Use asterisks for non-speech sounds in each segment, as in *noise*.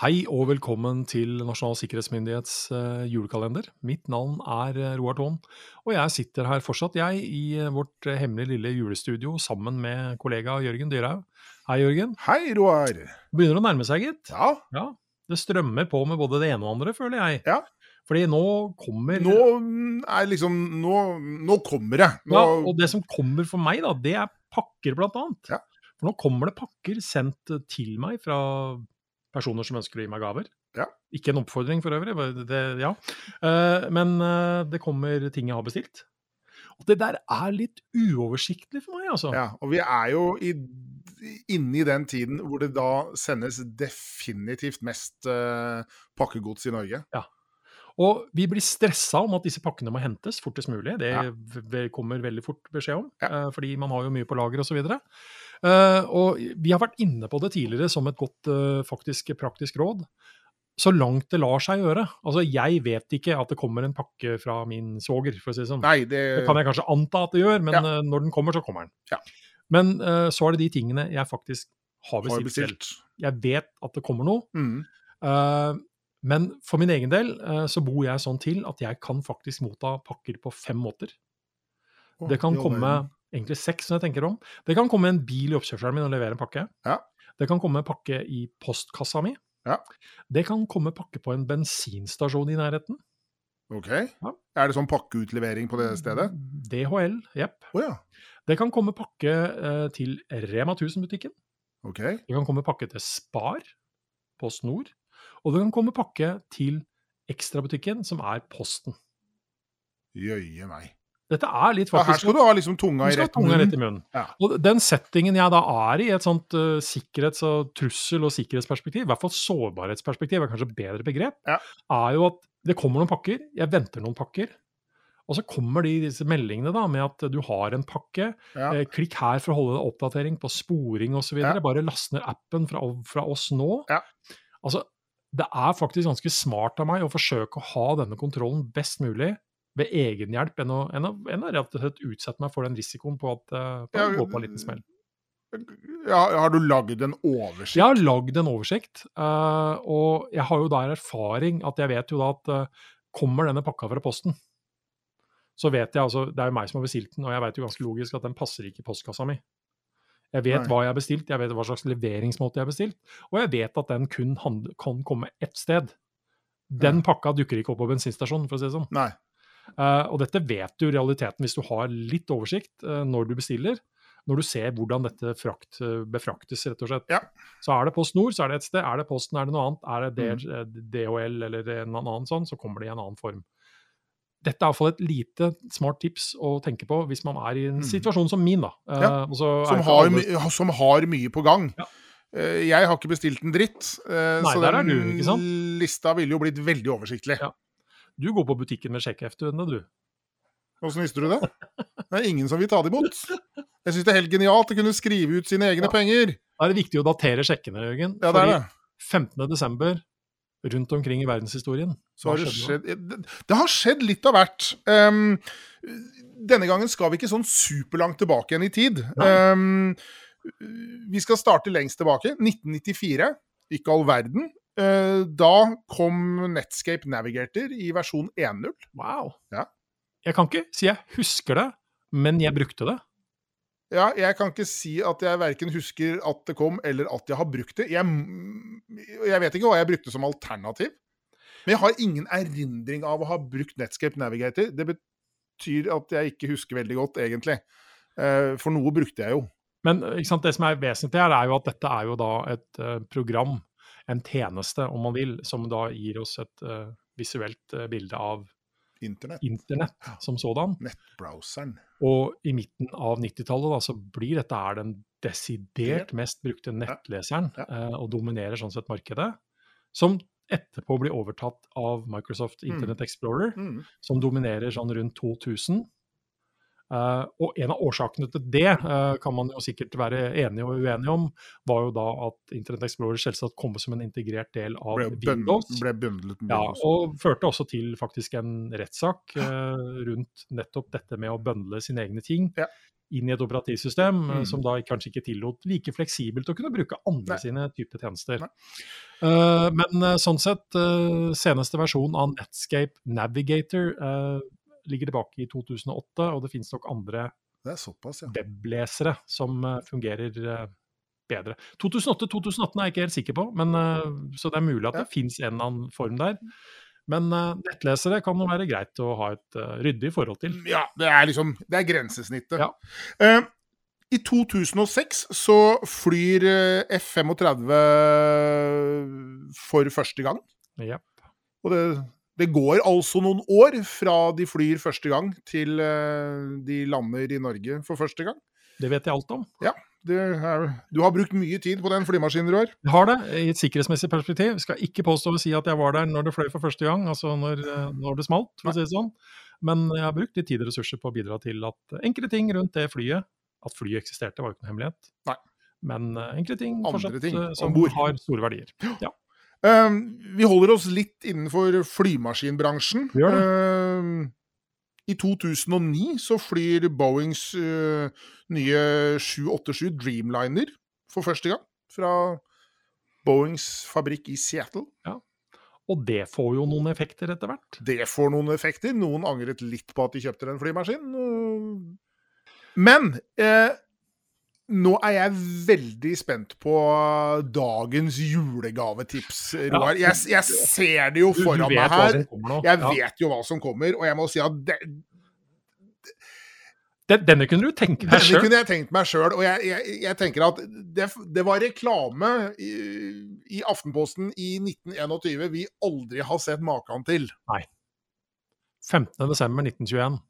Hei og velkommen til Nasjonal sikkerhetsmyndighets eh, julekalender. Mitt navn er eh, Roar Thon, og jeg sitter her fortsatt, jeg, i eh, vårt eh, hemmelige lille julestudio sammen med kollega Jørgen Dyrhaug. Hei, Jørgen. Hei, Roar. Begynner å nærme seg, gitt. Ja, Det strømmer på med både det ene og det andre, føler jeg. Ja. Fordi nå kommer nå mm, er liksom Nå, nå kommer det. Nå, ja, Og det som kommer for meg, da, det er pakker, blant annet. Ja. For nå kommer det pakker sendt eh, til meg fra personer som ønsker å gi meg gaver. Ja. Ikke en oppfordring for øvrig, bare det, ja. Eh, men eh, det kommer ting jeg har bestilt. Og det der er litt uoversiktlig for meg, altså. ja, og vi er jo i, inne i den tiden hvor det da sendes definitivt mest eh, pakkegods i Norge. Og vi blir stressa om at disse pakkene må hentes fortest mulig. Det Ja. v- v- kommer veldig fort beskjed om, Ja. eh, fordi man har jo mye på lager osv. Uh, og vi har vært inne på det tidligere som et godt eh, faktisk praktisk råd. Så langt det lar seg gjøre. Altså, jeg vet ikke at det kommer en pakke fra min svoger, for å si det sånn. Nei, det, Det kan jeg kanskje anta at det gjør, men Ja. eh, når den kommer, så kommer den. Ja. Men eh, så er det de tingene jeg faktisk har har jeg bestilt, selv. bestilt. Jeg vet at det kommer noe, Mm. Eh, men for min egen del eh, så bor jeg sånn til at jeg kan faktisk motta pakker på fem måter. Å, Det kan i all komme verden. egentlig seks, når jeg tenker om. Det kan komme en bil i oppkjørselen min og levere en pakke. Ja. Det kan komme en pakke i postkassa mi. Ja. Det kan komme pakke på en bensinstasjon i nærheten. Ok. Ja. Er det sånn pakkeutlevering på det stedet? DHL, jepp. Å ja. Det kan komme pakke eh, til Rema 1000-butikken. Ok. Det kan komme pakke til Spar på Snor. Og det kan komme pakke til ekstrabutikken, som er Posten. Jøye meg. Dette er litt Ja, her faktisk skal du ha liksom tunga Du i skal ha rett tunga rett i munnen. Ja. Og den settingen jeg da er i, et sånt eh, sikkerhets- og trussel- og sikkerhetsperspektiv, i hvert fall sårbarhetsperspektiv er kanskje et bedre begrep, Ja. er jo at det kommer noen pakker, jeg venter noen pakker, og så kommer de disse meldingene da med at du har en pakke, Ja. eh, klikk her for å holde deg oppdatering på sporing osv., Ja. videre bare last ned appen fra, fra oss nå. Ja. Altså, det er faktisk ganske smart av meg å forsøke å ha denne kontrollen best mulig ved egenhjelp, enn å, enn å, enn å rett og slett utsette meg for den risikoen på at eh, på å Ja, gå på en liten smell. Ja, har du lagd en oversikt? Jeg har lagd en oversikt, eh, og jeg har jo der erfaring at jeg vet jo da at eh, kommer denne pakka fra posten, så vet jeg altså Det er jo meg som har bestilt den, og jeg vet jo ganske logisk at den passer ikke i postkassa mi. Jeg vet Nei. hva jeg har bestilt, jeg vet hva slags leveringsmåte jeg har bestilt, og jeg vet at den kun handle, kan komme ett sted. Den pakka dukker ikke opp på bensinstasjonen, for å si det sånn. Nei. Eh, og dette vet du i realiteten hvis du har litt oversikt eh, når du bestiller, når du ser hvordan dette frakt, eh, befraktes, rett og slett. Ja. Mm. Så er det Post Nord, så er det et sted. Er det Posten, er det noe annet? Er det D- eh, DHL eller en annen sånn, så kommer det i en annen form. Dette er iallfall et lite smart tips å tenke på hvis man er i en Mm. situasjon som min, da. Eh, Ja, og så er som ikke har, alle- my- som har mye på gang. Ja. Eh, Jeg har ikke bestilt en dritt, eh, Nei, så der er den du, ikke sant? lista ville jo blitt veldig oversiktlig. Ja. Du går på butikken med sjekkeheftene, du. Åssen visste du det? Det er ingen som vil ta det imot. Jeg syns det er helt genialt å kunne skrive ut sine egne Ja. penger. Da er det viktig å datere sjekkene, Jørgen. Ja, det er det. 15.12. rundt omkring i verdenshistorien Så hva har det, skjedde da? skjedd, det, det har skjedd litt av hvert. Ehm, denne gangen skal vi ikke sånn superlangt tilbake igjen i tid. Nei. Ehm, vi skal starte lengst tilbake. 1994. Ikke all verden. Eh, da kom Netscape Navigator i versjon 1.0. Wow. Ja. Jeg kan ikke si jeg husker det, men jeg brukte det. Ja, jeg kan ikke si at jeg verken husker at det kom, eller at jeg har brukt det. Jeg, m- jeg vet ikke hva jeg brukte som alternativ. Men jeg har ingen erindring av å ha brukt Netscape Navigator. Det betyr at jeg ikke husker veldig godt, egentlig. Eh, For noe brukte jeg jo. Men eh, ikke sant, det som er vesentlig her, er jo at dette er jo da et eh, program, en tjeneste om man vil, som da gir oss et eh, visuelt eh, bilde av Internett. internett som sådan. Nettbrowseren. Og i midten av 90-tallet da, så blir dette her den desidert mest brukte nettleseren, Ja. eh, og dominerer sånn sett markedet. Som etterpå blir overtatt av Microsoft Internet Explorer, Mm. som dominerer sånn rundt 2000. Eh, og en av årsakene til det eh, kan man jo sikkert være enige og uenige om, var jo da at Internet Explorer selvsagt kom som en integrert del av Ble, bønd, Windows. ble bundlet med Ja, Windows. og førte også til faktisk en rettssak eh, rundt nettopp dette med å bøndle sine egne ting Ja. inn i et operativsystem, eh, Mm. som da kanskje ikke tillot like fleksibelt å kunne bruke andre Nei. sine typer tjenester. Nei. Eh, men eh, sånn sett, eh, seneste versjon av Netscape Navigator eh, ligger tilbake i 2008, og det finnes nok andre Det er såpass, ja. weblesere som eh, fungerer eh, bedre. 2008-2018 er jeg ikke helt sikker på, men, eh, så det er mulig at Ja. Mm. det fins en eller annen form der. Men eh, nettlesere kan jo være greit å ha et eh, ryddig forhold til. Ja, det er liksom Det er grensesnittet. Ja. Eh, I 2006 så flyr eh, F-35 for første gang. Ja. Og det, det går altså noen år fra de flyr første gang, til eh, de lander i Norge for første gang. Det vet jeg alt om. Det er, du har brukt mye tid på den flymaskinen, Roar. Jeg har det i et sikkerhetsmessig perspektiv. Skal ikke påstå å si at jeg var der når det fløy for første gang, altså når, eh, når det smalt, for å si det sånn. Men jeg har brukt litt tid og ressurser på å bidra til at eh, enkle ting rundt det flyet At flyet eksisterte, var jo ikke noe hemmelighet. Nei. Men eh, enkle ting Andre fortsatt ting, eh, som ombord. har store verdier. Ja. Eh, vi holder oss litt innenfor flymaskinbransjen. Vi gjør Eh, I 2009 så flyr Boeings eh, nye 787 Dreamliner for første gang. Fra Boeings fabrikk i Seattle. Og det får jo noen effekter etter hvert. Det får noen effekter. Noen angret litt på at de kjøpte den flymaskinen. og- Men eh, nå er jeg veldig spent på dagens julegavetips, Roar. Jeg, jeg ser det jo Du, du foran meg vet hva her. som kommer nå. Jeg Ja. vet jo hva som kommer, og jeg må si at det, Den, denne kunne du tenke deg denne sjøl. kunne jeg tenkt meg sjøl. Og jeg, jeg, jeg tenker at det, det var reklame i, i Aftenposten i 1921 vi aldri har sett maken til. 15.12.1921.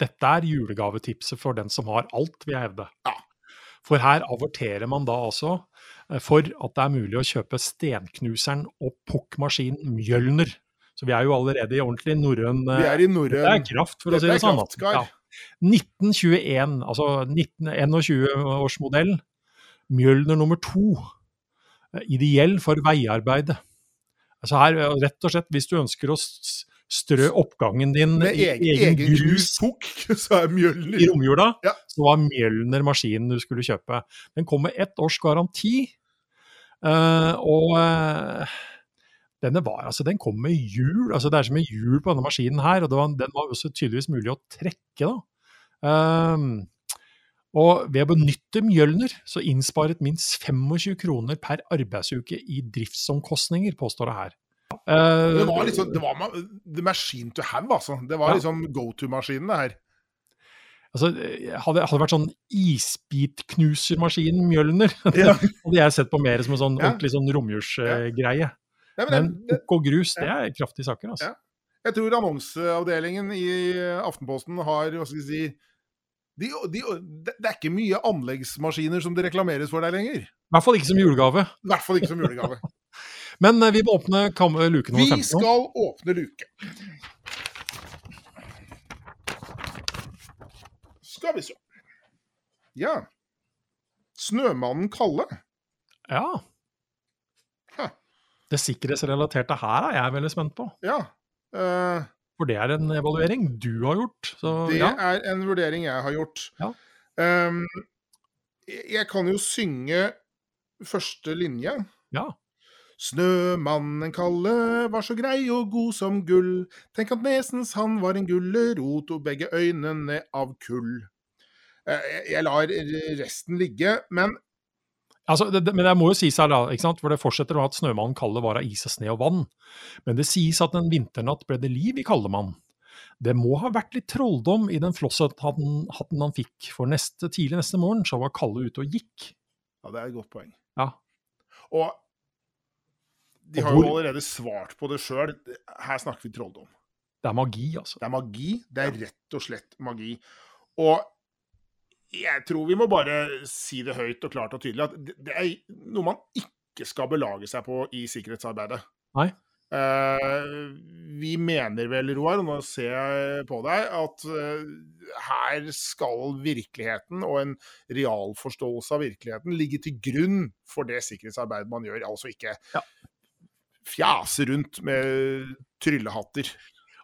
Dette er julegavetipset for den som har alt, vil jeg hevde. Ja. For her averterer man da altså eh, for at det er mulig å kjøpe stenknuseren og pukkmaskinen Mjølner. Så vi er jo allerede i ordentlig norrøn eh, Vi er i Det er norrøn kraft, for å Dette si det er sånn. kraft, Skar. 1921, altså 1921-årsmodell, Mjølner nummer to, eh, ideell for veiarbeid. Altså her, eh, rett og slett, hvis du ønsker å s- strø oppgangen din Med i egen, egen grus pukk, *laughs* så er i Mjølner romjula, Ja. så var Mjølner maskinen du skulle kjøpe. Den kom med ett års garanti, eh, og eh, denne var, altså den kom med hjul, altså det er som en hjul på denne maskinen her, og det var, den var også tydeligvis mulig å trekke da. Ehm, og ved å benytte Mjølner, så innsparet minst 25 kroner per arbeidsuke i driftsomkostninger, påstår det her. Eh, Det var liksom det var ma- the machine to have, altså. Det Ja. var liksom go to-maskinen, det her. altså, hadde, hadde det vært sånn isbitknusermaskinen Mjølner, *laughs* Ja. hadde jeg sett på mer som en sånn Ja. ordentlig sånn romjulsgreie. Nei, men Men det, det, kokk og grus, det er kraftige saker, altså. Ja. Jeg tror annonseavdelingen i Aftenposten har hva skal jeg si, de, de, det det er ikke mye anleggsmaskiner som det reklameres for der lenger. I hvert fall ikke som julegave. I hvert fall ikke som julegave. Men eh, vi må åpne kam luke Vi nummer 15 nå. skal åpne luke. Skal vi se. Ja. Snømannen Kalle. Ja. Hæ. Det sikkerhetsrelaterte her er jeg veldig spent på. Ja. eh, For det er en evaluering du har gjort. Så det ja, er en vurdering jeg har gjort. Ja. Ehm, jeg jeg kan jo synge første linje. ja. Snømannen Kalle var så grei og god som gull. Tenk at nesens han var en gulrot og begge øynene av kull. Eh, Jeg jeg lar resten ligge, men Altså, det, det, men det må jo sies her, da, ikke sant? for det fortsetter med at snømannen Kalle var av is og sne og vann. Men det sies at en vinternatt ble det liv i Kallemann. Det må ha vært litt trolldom i den flosshatten hatten han fikk, for neste, tidlig neste morgen så var Kalle ute og gikk. Ja, det er et godt poeng. Ja. Og de Og har jo hvor- allerede svart på det sjøl. Her snakker vi trolldom. Det er magi, altså. Det er magi. Det er rett og slett magi. Og jeg tror vi må bare si det høyt og klart og tydelig at det det er noe man ikke skal belage seg på i sikkerhetsarbeidet. Nei. Eh, vi mener vel, Roar, nå ser jeg på deg, at eh, her skal virkeligheten og en realforståelse av virkeligheten ligge til grunn for det sikkerhetsarbeidet man gjør. Altså ikke Ja. fjase rundt med tryllehatter.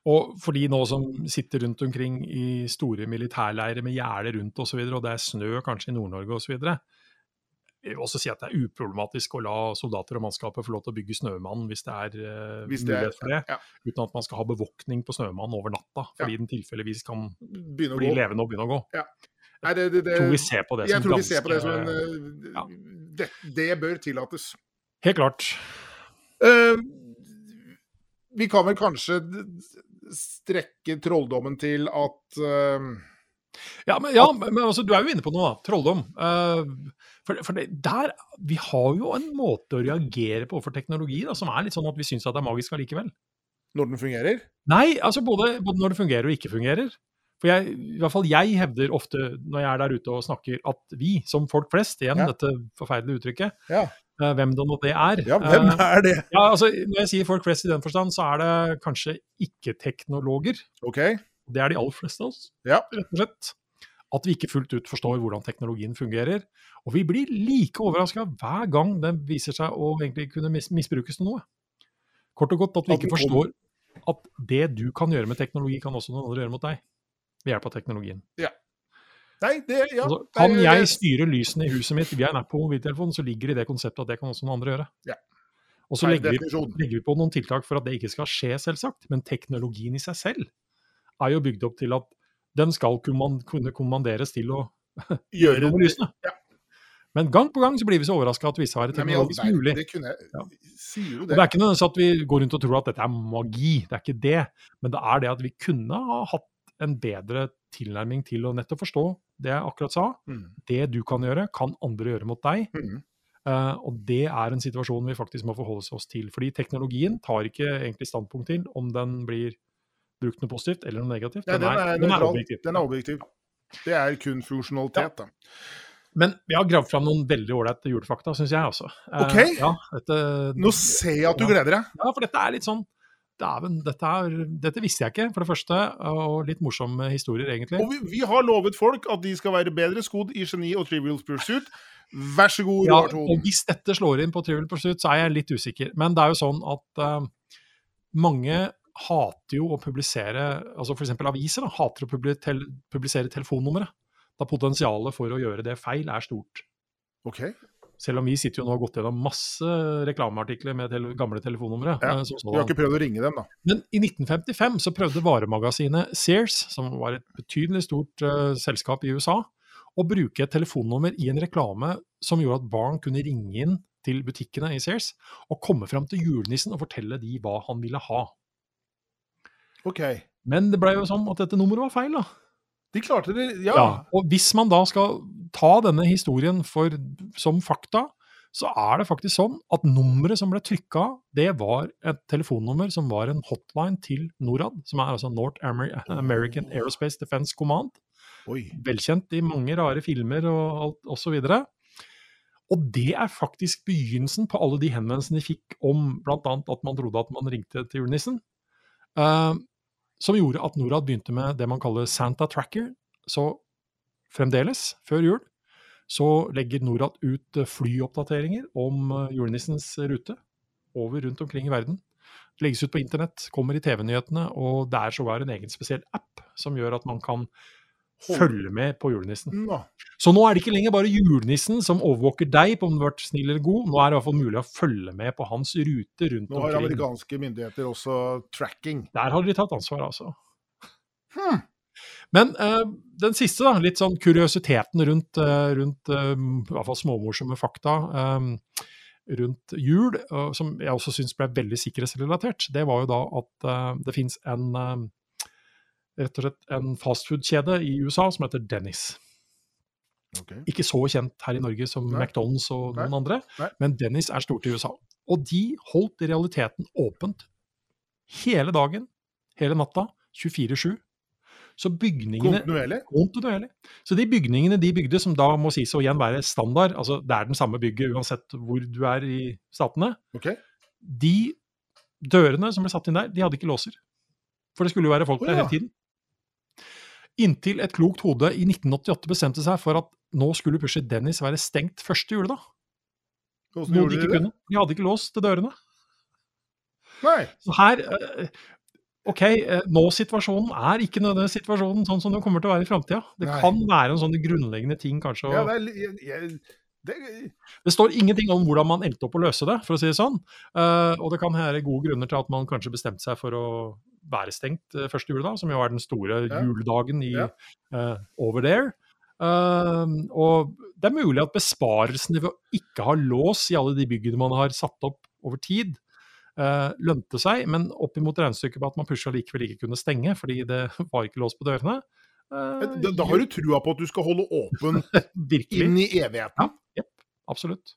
Og for de nå som sitter rundt omkring i store militærleirer med gjerde rundt osv., og, så videre, og det er snø kanskje i Nord-Norge osv. Jeg vil også si at det er uproblematisk å la soldater og mannskaper få lov til å bygge snømann hvis det er eh, Hvis det er- mulighet for det, ja. uten at man skal ha bevoktning på snømannen over natta, fordi den tilfeldigvis kan Begynne å bli gå. levende og begynne å gå. Nei, det, det, det, Jeg tror vi ser på det Eh, jeg som tror vi ser på det som en ganske eh, ja. det, det bør tillates. Helt klart. Eh, vi kan vel kanskje d- d- strekke trolldommen til at eh, Ja, men, ja, men altså, du er jo inne på noe, da. Trolldom. Eh, for for det, der, vi har jo en måte å reagere på overfor teknologi da, som er litt sånn at vi syns at det er magisk allikevel. når den fungerer Nei, altså både, både når det fungerer og ikke fungerer. For jeg, i hvert fall jeg hevder ofte når jeg er der ute og snakker, at vi som folk flest, igjen Ja. dette forferdelige uttrykket, Ja. eh, hvem det nå det er Ja, hvem eh, er det? ja, altså, Når jeg sier folk flest i den forstand, så er det kanskje ikke-teknologer. OK. Det er de aller fleste av oss, Ja. rett og slett. At vi ikke fullt ut forstår hvordan teknologien fungerer. Og vi blir like overraska hver gang den viser seg å egentlig kunne mis misbrukes til noe. Kort og godt at vi At den ikke kommer. forstår at det du kan gjøre med teknologi, kan også noen andre gjøre mot deg. Ved hjelp av teknologien. Nei, det ja, altså, nei, kan det- jeg styre lysene i huset mitt via en app på mobiltelefonen, så ligger det i det konseptet at det kan også noen andre gjøre. Ja. Og så per legger vi definisjon. legger vi på noen tiltak for at det ikke skal skje, selvsagt. Men teknologien i seg selv er jo bygd opp til at den skal kumman- kunne kommanderes til å Gjøre gjøre noe med lysene. Ja. Men gang på gang så blir vi så overraska at visse har Nei, men i all teknologisk verden, mulig. Det kunne jeg Ja. Sier jo Og det. det er ikke nødvendigvis at vi går rundt og tror at dette er magi, det er ikke det. Men det er det at vi kunne ha hatt en bedre tilnærming til å nettopp forstå det jeg akkurat sa. Mm. Det du kan gjøre, kan andre gjøre mot deg. Mm. Eh, og det er en situasjon vi faktisk må forholde oss til. Fordi teknologien tar ikke egentlig standpunkt til om den blir brukt noe positivt eller noe negativt. Ja, den er den er nøytral. objektiv. Den er objektiv. Det er kun funksjonalitet, da. Men vi har gravd fram noen veldig ålreite julefakta, syns jeg også. Eh, Ok. ja, eh, dette, Nå ser jeg at du gleder deg. ja, for dette er litt sånn Dæven, dette, er- dette visste jeg ikke, for det første. Og litt morsomme historier, egentlig. Og vi, vi har lovet folk at de skal være bedre skodd i geni og trivial pursuit. Vær så god, Ja, Roar og Thon. hvis dette slår inn på Trivial Pursuit, så er jeg litt usikker. Men det er jo sånn at eh, mange hater jo å publisere altså F.eks. aviser da, hater å publi- tel- publisere telefonnummeret. Da potensialet for å gjøre det feil er stort. Ok. Selv om vi sitter jo nå og har gått gjennom masse reklameartikler med tele gamle telefonnumre. Ja, eh, som Du har sådan. ikke prøvd å ringe dem, da? Men i 1955 så prøvde varemagasinet Sears, som var et betydelig stort eh, selskap i USA, å bruke et telefonnummer i en reklame som gjorde at barn kunne ringe inn til butikkene i Sears og komme fram til julenissen og fortelle de hva han ville ha. Ok. Men det ble jo sånn at dette nummeret var feil, da. De klarte det, ja. Og hvis man da skal ta denne historien for, som fakta, så er det faktisk sånn at nummeret som ble trykka, det var et telefonnummer som var en hotline til Norad, som er altså North Amer American Aerospace Defense Command. Oi. Velkjent i mange rare filmer og alt osv. Og, det er faktisk begynnelsen på alle de henvendelsene de fikk om bl.a. at man trodde at man ringte til julenissen. eh, som gjorde at Norad begynte med det man kaller Santa Tracker. Så fremdeles, før jul, så legger Norad ut eh, flyoppdateringer om eh, julenissens rute over rundt omkring i verden. Det legges ut på internett, kommer i TV-nyhetene, og det er sågar en egen spesiell app som gjør at man kan følge med på julenissen. Nå. Så nå er det ikke lenger bare julenissen som overvåker deg på om du har vært snill eller god, nå er det i hvert fall mulig å følge med på hans rute rundt Nå har omkring. amerikanske myndigheter også tracking. Der har de tatt ansvar, altså. Hmm. Men eh, den siste, da, litt sånn kuriositeten rundt, eh, rundt eh, i hvert fall småmorsomme fakta eh, rundt jul, eh, som jeg også syns ble veldig sikkerhetsrelatert, det var jo da at eh, det fins en eh, rett og slett en fastfood-kjede i USA som heter Dennis. Ok. Ikke så kjent her i Norge som Nei. McDonald's og noen Nei. andre, Nei. men Dennis er stort i USA. Og de holdt i realiteten åpent hele dagen, hele natta, 24-7. Så bygningene Kontinuerlig? kontinuerlig. Så de bygningene de bygde, som da må sies å igjen være standard, altså det er den samme bygget uansett hvor du er i statene, Ok. de Dørene som ble satt inn der, de hadde ikke låser. For det skulle jo være folk Å, der ja. hele tiden. Inntil et klokt hode i 1988 bestemte seg for at nå skulle pushet Dennis være stengt første juledag. Hvordan Noe gjorde de de ikke det? kunne. De hadde ikke låst dørene. Nei. Så her eh, Ok, eh, nå-situasjonen er ikke nødvendigvis situasjonen sånn som den kommer til å være i framtida. Det Nei. kan være en sånn grunnleggende ting, kanskje. å- Ja, det er, li- jeg, jeg, det, Det står ingenting om hvordan man endte opp å løse det, for å si det sånn. Eh, og det kan være gode grunner til at man kanskje bestemte seg for å være stengt eh, første juledag, som jo er den store Ja. juledagen i Ja. eh, over there. Eh, og det er mulig at besparelsene ved å ikke ha lås i alle de byggene man har satt opp over tid, eh, lønte seg, men opp imot regnestykket på at man pusha likevel ikke kunne stenge, fordi det *laughs* var ikke lås på dørene. eh, da, da har du trua på at du skal holde *laughs* åpen Virkelig. inn i evigheten. Absolutt.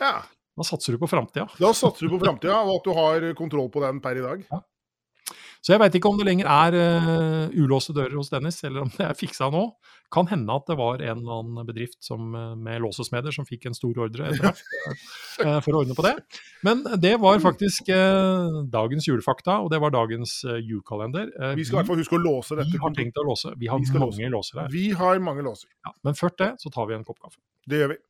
Ja. Da satser du på framtida. Da satser du på framtida, og at du har kontroll på den per i dag. Så jeg veit ikke om det lenger er eh, ulåste dører hos Dennis, eller om det er fiksa nå. Kan hende at det var en eller annen bedrift som, eh, med låsesmeder som fikk en stor ordre etter hvert *laughs* eh, for å ordne på det. Men det var faktisk eh, dagens julefakta, og det var dagens eh, julekalender. Eh, Vi skal i hvert fall huske å låse vi, dette. har tenkt å låse. Vi har Vi skal mange låser her. Vi har mange låser. Ja. Men først det så tar vi en kopp kaffe. Det gjør vi.